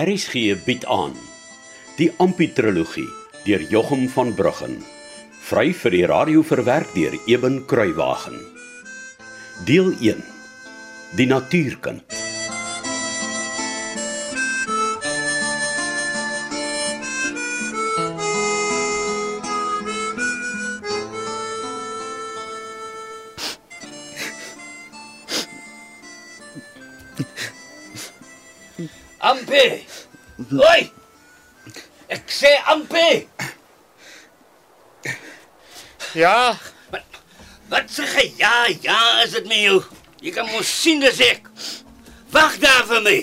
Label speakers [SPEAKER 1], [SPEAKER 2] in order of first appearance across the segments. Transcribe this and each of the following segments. [SPEAKER 1] RSG bied aan die Amputrologie deur Jochum van Bruggen vry vir die radio verwerk deur Eben Kruiwagen Deel 1 Die natuurkind
[SPEAKER 2] Ampe. Hoi. Ek sê Ampe.
[SPEAKER 3] Ja,
[SPEAKER 2] Wat sê jy? Ja, ja, is dit met jou? Jy kan mos sien dis ek. Wag daar vir my.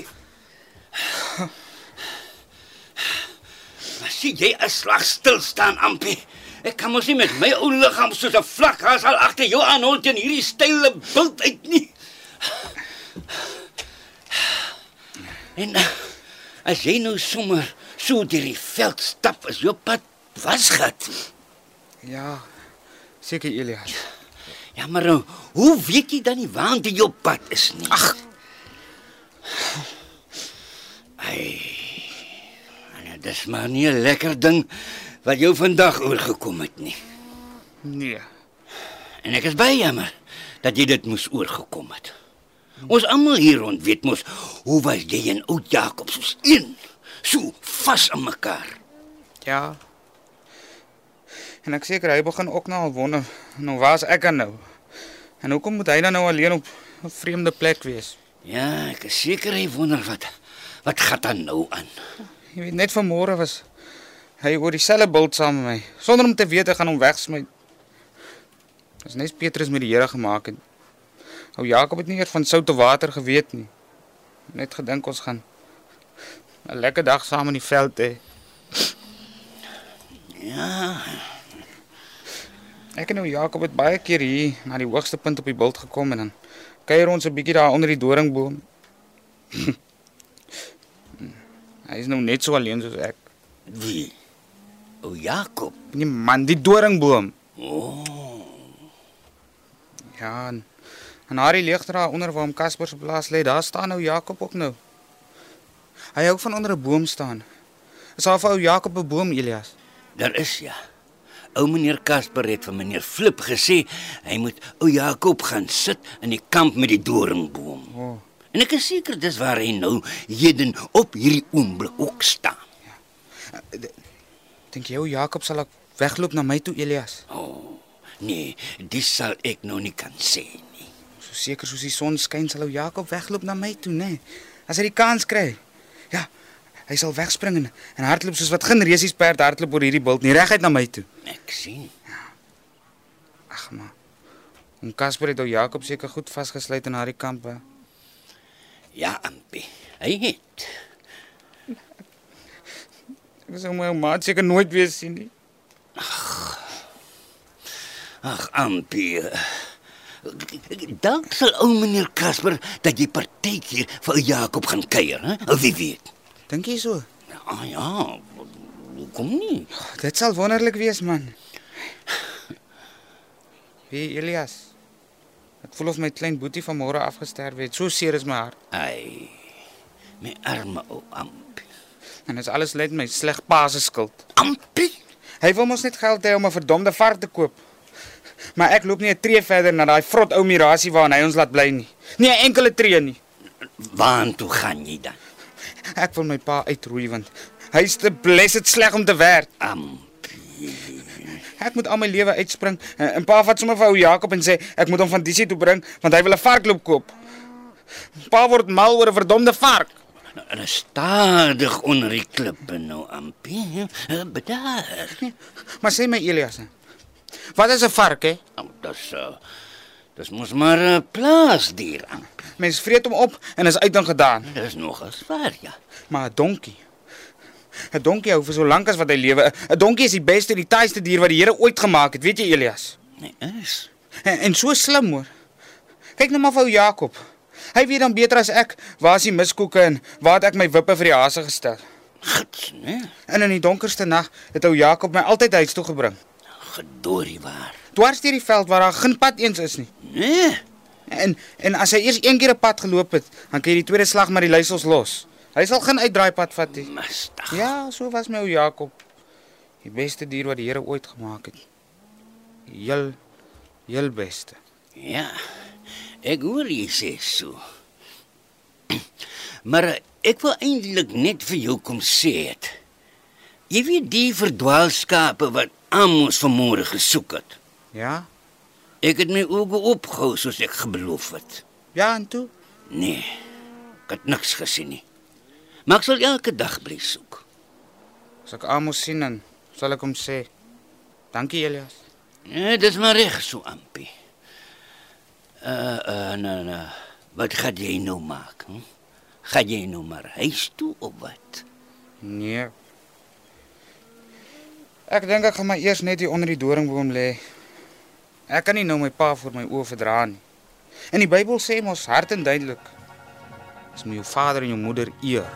[SPEAKER 2] Maar sien jy 'n slag stil staan, Ampe? Ek kan mos nie met my ou liggaam soos 'n vlak haas al agter jou aanhol teen hierdie style bult uit nie. En eh, as jy nou sommer so deur die veld stap, is jou pad wasgat.
[SPEAKER 3] ja. Seker Elias.
[SPEAKER 2] Ja, maar nou, hoe weet jy dan nie waantoe jou pad is nie? Ag. Ai. Nou, dis maar nie 'n lekker ding wat jou vandag oorgekom het nie.
[SPEAKER 3] Nee.
[SPEAKER 2] En ek is baie jammer dat jy dit moes oorgekom het. Ons almal hier rond weet mos hoe was jy en ou Jakob soos een, so vas aan mekaar.
[SPEAKER 3] Ja. En ek seker hy begin ook nou al wonder, nou waar's ek dan nou? En hoekom moet hy dan nou alleen op 'n vreemde plek wees?
[SPEAKER 2] Ja, ek is seker hy wonder wat wat gaan dan nou aan.
[SPEAKER 3] Jy weet net vanmôre was hy oor dieselfde bult saam met my, sonder om te weet ek gaan hom wegsmy. Dis net Petrus met die Here gemaak het. Ou Jakob het nie eers van sout of water geweet nie. Net gedink ons gaan 'n lekker dag saam in die veld hê.
[SPEAKER 2] Ja,
[SPEAKER 3] Ek en ou Jakob het baie keer hier na die hoogste punt op die bult gekom en dan kuier ons 'n bietjie daar onder die doringboom. Hy is nou net so alleen soos ek.
[SPEAKER 2] wie? O Jakob.
[SPEAKER 3] Nee man, die doringboom.
[SPEAKER 2] Oh.
[SPEAKER 3] Ja. En, en haar leeg daar onder waar hom Casper se plaas lê, daar staan ou Jakob ook nou. Hy hou van onder 'n boom staan. Is haar vir ou Jakob 'n boom, Elias?
[SPEAKER 2] Daar is ja. Ou meneer Casper het vir meneer Flip gesê hy moet ou Jakob gaan sit in die kamp met die doringboom.
[SPEAKER 3] O. Oh.
[SPEAKER 2] En ek is seker dis waar hy nou heden op hierdie oomblik ook staan.
[SPEAKER 3] Dink jy ou Jakob sal ek wegloop na my toe, Elias?
[SPEAKER 2] O, oh, nee, dis sal ek nou nie kan sê nie.
[SPEAKER 3] So seker soos die son skyn sal ou Jakob wegloop na my toe, né? Nee. As hy die kans kry. Ja, hy sal wegspring en, en hardloop soos wat geen resies perd hardloop oor hierdie bult nie, reguit na my toe.
[SPEAKER 2] Ek sien.
[SPEAKER 3] Ag maar. Om Casper het ou Jakob seker goed vasgesluit in haar kampe.
[SPEAKER 2] Ja, Ampie. Hy het.
[SPEAKER 3] Ek sou my ou maat seker nooit weer sien nie.
[SPEAKER 2] Ag, Ampie. Dank sal ou meneer Casper dat jy partykeer vir ou Jakob gaan kuier, hè? Of wie weet.
[SPEAKER 3] Dink jy so?
[SPEAKER 2] Ah ja, kom nie.
[SPEAKER 3] Dit sal wonderlik wees, man. Wie Elias? Ek voel of my klein boetie vanmôre afgesterf het. So seer is my hart.
[SPEAKER 2] Ai. My arme ou Ampie.
[SPEAKER 3] En dit is alles net my sleg pa se skuld.
[SPEAKER 2] Ampie?
[SPEAKER 3] Hy wil mos net geld hê om 'n verdomde vark te koop. Maar ek loop nie 'n tree verder na daai vrot ou mirasie waarin hy ons laat bly nie. Nie 'n enkele tree nie.
[SPEAKER 2] Waartoe gaan jy dan?
[SPEAKER 3] Ek wil my pa uitroei want hy's te blessed sleg om te werk.
[SPEAKER 2] Ampie.
[SPEAKER 3] Ek moet al my lewe uitspring. En en pa vat sommer vir ou Jakob en sê ek moet hom van Disie toe bring want hy wil 'n varkloop koop. Pa word mal oor 'n verdomde vark.
[SPEAKER 2] Nou, en stadig onder die klippe nou, Ampie. Eh, Bedaar.
[SPEAKER 3] Maar sê my Elias, wat is 'n vark hè?
[SPEAKER 2] Nou, dis uh, dis mos maar 'n uh, plaasdier, Ampie.
[SPEAKER 3] Mens vreet hom op en is uit en gedaan.
[SPEAKER 2] Dis nog as waar, ja.
[SPEAKER 3] Maar 'n donkie. 'n Donkie hou vir so lank as wat hy lewe. 'n Donkie is die beste en die taaiste dier wat die Here ooit gemaak het, weet jy Elias?
[SPEAKER 2] Nee, is.
[SPEAKER 3] En, en so slim hoor. Kyk nou maar vir ou Jakob. Hy weet dan beter as ek waar is die miskoeke en waar het ek my wippe vir die hase gestel.
[SPEAKER 2] Gits, nee.
[SPEAKER 3] En in die donkerste nag het ou Jakob my altyd huis toe gebring.
[SPEAKER 2] Gedorie waar.
[SPEAKER 3] Dwars deur die veld waar daar geen pad eens is nie.
[SPEAKER 2] Nee.
[SPEAKER 3] En en as hy eers een keer 'n pad geloop het, dan kan jy die tweede slag maar die leisels los. Hy sal geen uitdraaipad vat nie.
[SPEAKER 2] Mastig.
[SPEAKER 3] Ja, so was my ou Jakob. Die beste dier wat die Here ooit gemaak het. Heel heel beste.
[SPEAKER 2] Ja. Ek hoor jy sê so. Maar eh, ek wil eintlik net vir jou kom sê het. Jy weet die verdwaalskape wat Amos vanmôre gesoek het.
[SPEAKER 3] Ja.
[SPEAKER 2] Ek het my oë opgehou soos ek gebeloof het.
[SPEAKER 3] Ja, en toe.
[SPEAKER 2] Nee. Ek het niks gesien nie. Maar ek sal elke dag bly soek.
[SPEAKER 3] As ek Amos sien dan sal ek hom sê. Dankie Elias.
[SPEAKER 2] Ja, dis maar reg so ampie. Uh uh nee nee. Wat gaan jy nou maak? Hm? Gaan jy nou maar huis toe of wat?
[SPEAKER 3] Nee. Ek dink ek gaan maar eers net hier onder die doringboom lê. Ek kan nie nou my pa voor my oë verdra nie. In die Bybel sê mos hard en duidelik: As my jou vader en jou moeder eer.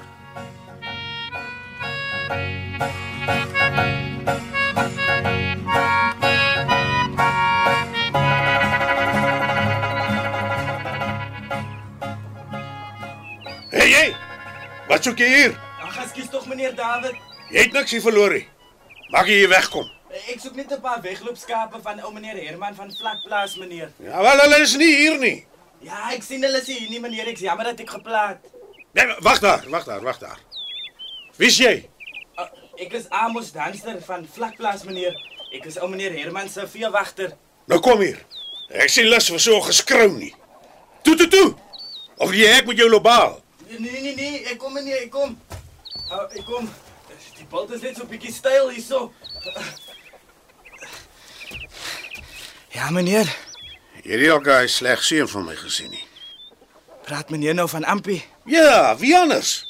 [SPEAKER 4] Hey hey. Wat soek jy hier?
[SPEAKER 5] Ag, ekskuus tog meneer David.
[SPEAKER 4] Jy het niks hier verloor nie. Mag jy hier wegkom?
[SPEAKER 5] Ek soek net 'n paar wegloopskape van ou meneer Herman van Vlakplaas meneer.
[SPEAKER 4] Ja, wel hulle is nie hier nie.
[SPEAKER 5] Ja, ek sien hulle is hier nie meneer. Ek's jammer dat ek geplaat.
[SPEAKER 4] Nee, wag daar, wag daar, wag daar. Wie is jy?
[SPEAKER 5] Uh, ek is Amos Danster van Vlakplaas meneer. Ek is ou meneer Herman se veewagter.
[SPEAKER 4] Nou kom hier. Ek sien lus vir so geskrou nie. Toe toe toe. Of jy ek met jou lobaal.
[SPEAKER 5] Nee nee nee, ek kom meneer, ek kom. Uh, ek kom. Die bult is net so 'n bietjie styl hierso. Ja meneer,
[SPEAKER 4] Hierdie ou guy is slegs seën van my gesien nie.
[SPEAKER 5] praat meneer nou van Ampie.
[SPEAKER 4] Ja, wie anders?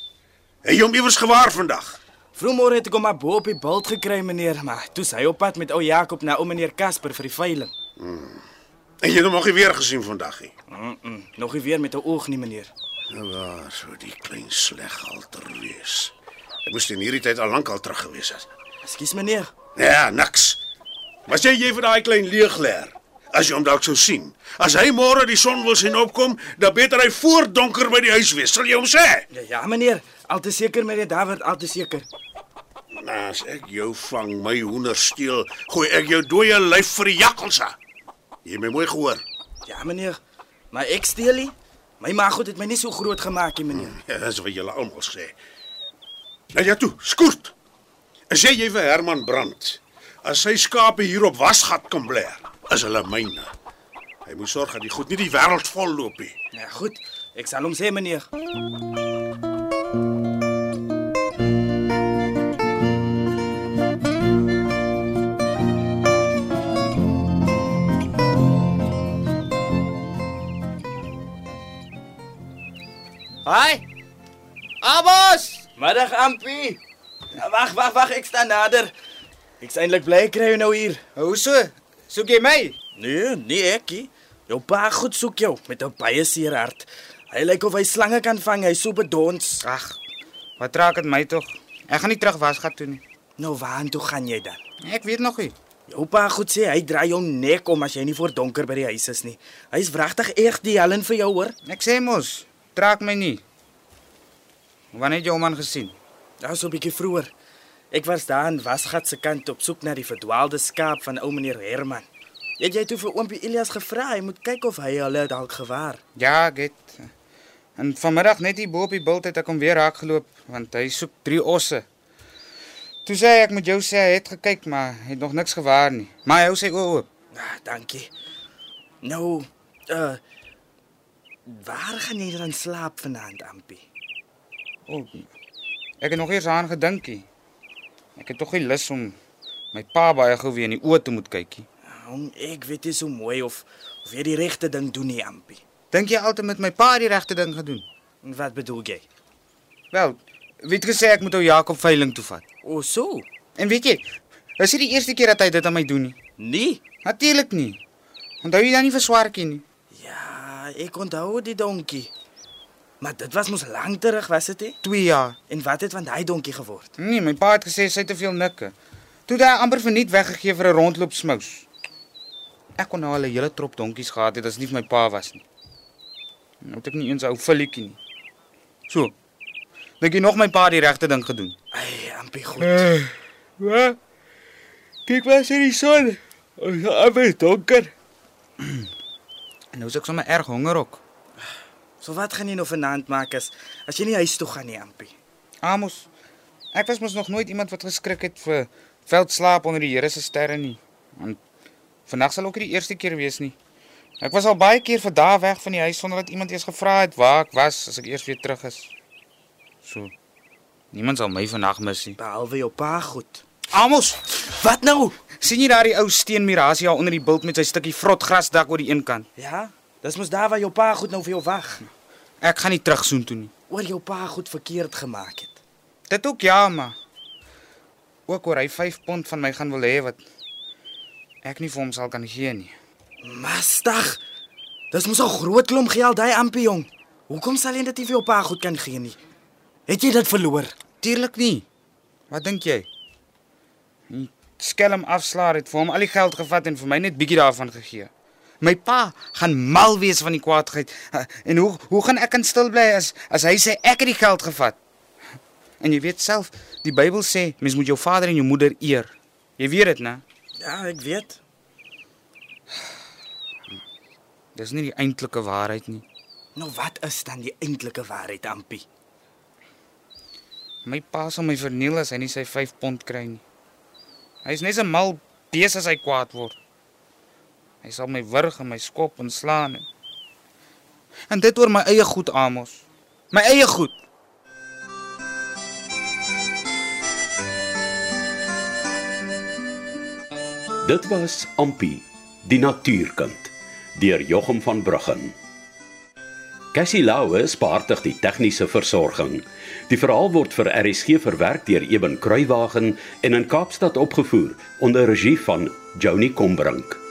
[SPEAKER 4] Hy hom iewers gewaar vandag.
[SPEAKER 5] Vroegmôre het ek hom maar bo op die bult gekry meneer, maar toe is hy op pad met ou Jakob na ou meneer Casper vir die veiling.
[SPEAKER 4] En jy het hom nog nie weer gesien vandag nie.
[SPEAKER 5] Mm -mm, nog nie weer met 'n oog nie meneer.
[SPEAKER 4] Nou waar sou die klein sleghalter wees? Ek moes in hierdie tyd al lank al terug gewees het.
[SPEAKER 5] Ekskuus meneer.
[SPEAKER 4] Ja, niks. Wat sê jy vir daai klein leegler? As jy hom dalk sou sien. As hy môre die son wil sien opkom, dan beter hy voor donker by die huis wees. Sal jy hom sê?
[SPEAKER 5] Ja, ja meneer, al te seker meneer David, al te seker.
[SPEAKER 4] Nou, as ek jou vang, my hoender steel, gooi ek jou dooie lyf vir die jakkalse. Jy het my mooi gehoor.
[SPEAKER 5] Ja meneer, maar ek steel nie. My ma goed het my nie so groot gemaak nie meneer.
[SPEAKER 4] Ja, dis wat julle almal sê. Nou ja toe, skoort. As jy jy vir Herman Brand, as sy skape hier op wasgat kom blaar, is hulle myne. Hy moet sorg dat die goed nie die wêreld vol loop nie.
[SPEAKER 5] Ja goed, ek sal hom sê meneer.
[SPEAKER 6] Hi. Amos,
[SPEAKER 5] Middag Ampie. Ja, Wag, wag, wag, ek staan nader. Ek's eintlik bly ek kry jou nou hier.
[SPEAKER 6] hoe so? Soek jy my?
[SPEAKER 5] Nee, nee ekkie. Jou pa goed soek jou met 'n baie seer hart. Hy lyk of hy slange kan vang, hy's so bedons.
[SPEAKER 3] Ag, wat raak dit my tog? Ek gaan nie terug wasgat toe nie.
[SPEAKER 5] Nou waartoe gaan jy dan?
[SPEAKER 3] Ek weet nog nie.
[SPEAKER 5] Jou pa goed sê hy draai jou nek om as jy nie voor donker by die huis is nie. Hy's wragtig erg die Helen vir jou hoor.
[SPEAKER 3] Ek sê mos, traak my nie. Wanneer het jy hom aan gesien?
[SPEAKER 5] Daar's so 'n bietjie vroeër. Ek was daar in Wasgat se kant op soek na die verdwaalde skaap van ou meneer Herman. Het jy toe vir oompie Elias gevra hy moet kyk of hy hulle dalk gewaar?
[SPEAKER 3] Ja, ek het. En vanmiddag net hier bo op die bult het ek hom weer raak geloop want hy soek drie osse. Toe sê hy, ek moet jou sê hy het gekyk maar hy het nog niks gewaar nie. Maar hy hou sy oë oop.
[SPEAKER 5] Ah, dankie. Nou, uh waar gaan jy dan slaap vanaand, Ampie?
[SPEAKER 3] O, ek het nog eers aan gedinkie. Ek het tog nie lus om my pa baie gou weer in die oë te moet kykie.
[SPEAKER 5] Hom, ek weet nie so mooi of of jy die regte ding doen nie, Ampie.
[SPEAKER 3] Dink jy altyd met my pa die regte ding gedoen?
[SPEAKER 5] En Wat bedoel jy?
[SPEAKER 3] Wel, weet gesê ek moet ou Jakob veiling toe vat.
[SPEAKER 5] O, so.
[SPEAKER 3] En weet jy, dis nie die eerste keer dat hy dit aan my doen nie.
[SPEAKER 5] Nee.
[SPEAKER 3] Natuurlik nie. Onthou jy dan nie vir swartjie nie?
[SPEAKER 5] Ja, ek onthou die donkie. Maar dit was mos lank terug, was dit nie?
[SPEAKER 3] 2 jaar.
[SPEAKER 5] En wat het van daai donkie geword?
[SPEAKER 3] Nee, my pa het gesê sy het te veel nikke. Toe het hy amper verniet weggegee vir 'n rondloop smous. Ek kon nou al 'n hele trop donkies gehad het as dit nie vir my pa was nie. Nou het ek nie eens 'n ou filletjie nie. So. Dink jy nog my pa het die regte ding gedoen?
[SPEAKER 5] Ai, amper goed.
[SPEAKER 3] Wat? Kyk waar is die son? Ons is donker. En nou is ek sommer erg honger ook.
[SPEAKER 5] So wat gaan jy nou vanaand maak as as jy nie huis toe gaan nie, amper?
[SPEAKER 3] Amos, ek was mos nog nooit iemand wat geskrik het vir veldslaap onder die Here se sterre nie. Want vandag sal ook nie die eerste keer wees nie. Ek was al baie keer vir dae weg van die huis sonder dat iemand eens gevra het waar ek was as ek eers weer terug is. So. Niemand sal my vandag mis nie.
[SPEAKER 5] Behalwe jou pa goed.
[SPEAKER 3] Amos,
[SPEAKER 5] Wat nou?
[SPEAKER 3] sien jy daardie ou steenmuur hasie al onder die bult met sy stukkie vrot grasdak oor die een kant?
[SPEAKER 5] Ja, dis mos daar waar jou pa goed nou vir jou wag.
[SPEAKER 3] Ek gaan nie terugsoen toe nie.
[SPEAKER 5] Oor jou pa goed verkeerd gemaak het.
[SPEAKER 3] Dit ook ja, maar ook oor hy 5 pond van my gaan wil hê wat ek nie vir hom sal kan gee nie.
[SPEAKER 5] Mastig. Dis mos 'n groot klomp geld hy amper jong. Hoekom sal jy dit nie vir jou pa goed kan gee nie? Het jy dit verloor?
[SPEAKER 3] Tuurlik nie. Wat dink jy? Die skelm afslaer het vir hom al die geld gevat en vir my net bietjie daarvan gegee. My pa gaan mal wees van die kwaadheid. En hoe hoe gaan ek kan stil bly as as hy sê ek het die geld gevat? En jy weet self, die Bybel sê mens moet jou vader en jou moeder eer. Jy weet dit, né?
[SPEAKER 5] Ja, ek weet.
[SPEAKER 3] Dis nie die eintlike waarheid nie.
[SPEAKER 5] Nou wat is dan die eintlike waarheid amper?
[SPEAKER 3] My pa sal my verniel as hy nie sy 5 pond kry nie. Hy's net 'n mal bees as hy kwaad word. Hy sal my wurg en my skop en slaan. En, en dit oor my eie goed, Amos. My eie goed.
[SPEAKER 1] Dit was Ampi, die natuurkind, deur Jochum van Bruggen. Cassie Lauwe spaartig die tegniese versorging. Die verhaal word vir RSG verwerk deur Eben Kruiwagen en in Kaapstad opgevoer onder regie van Joni Combrink.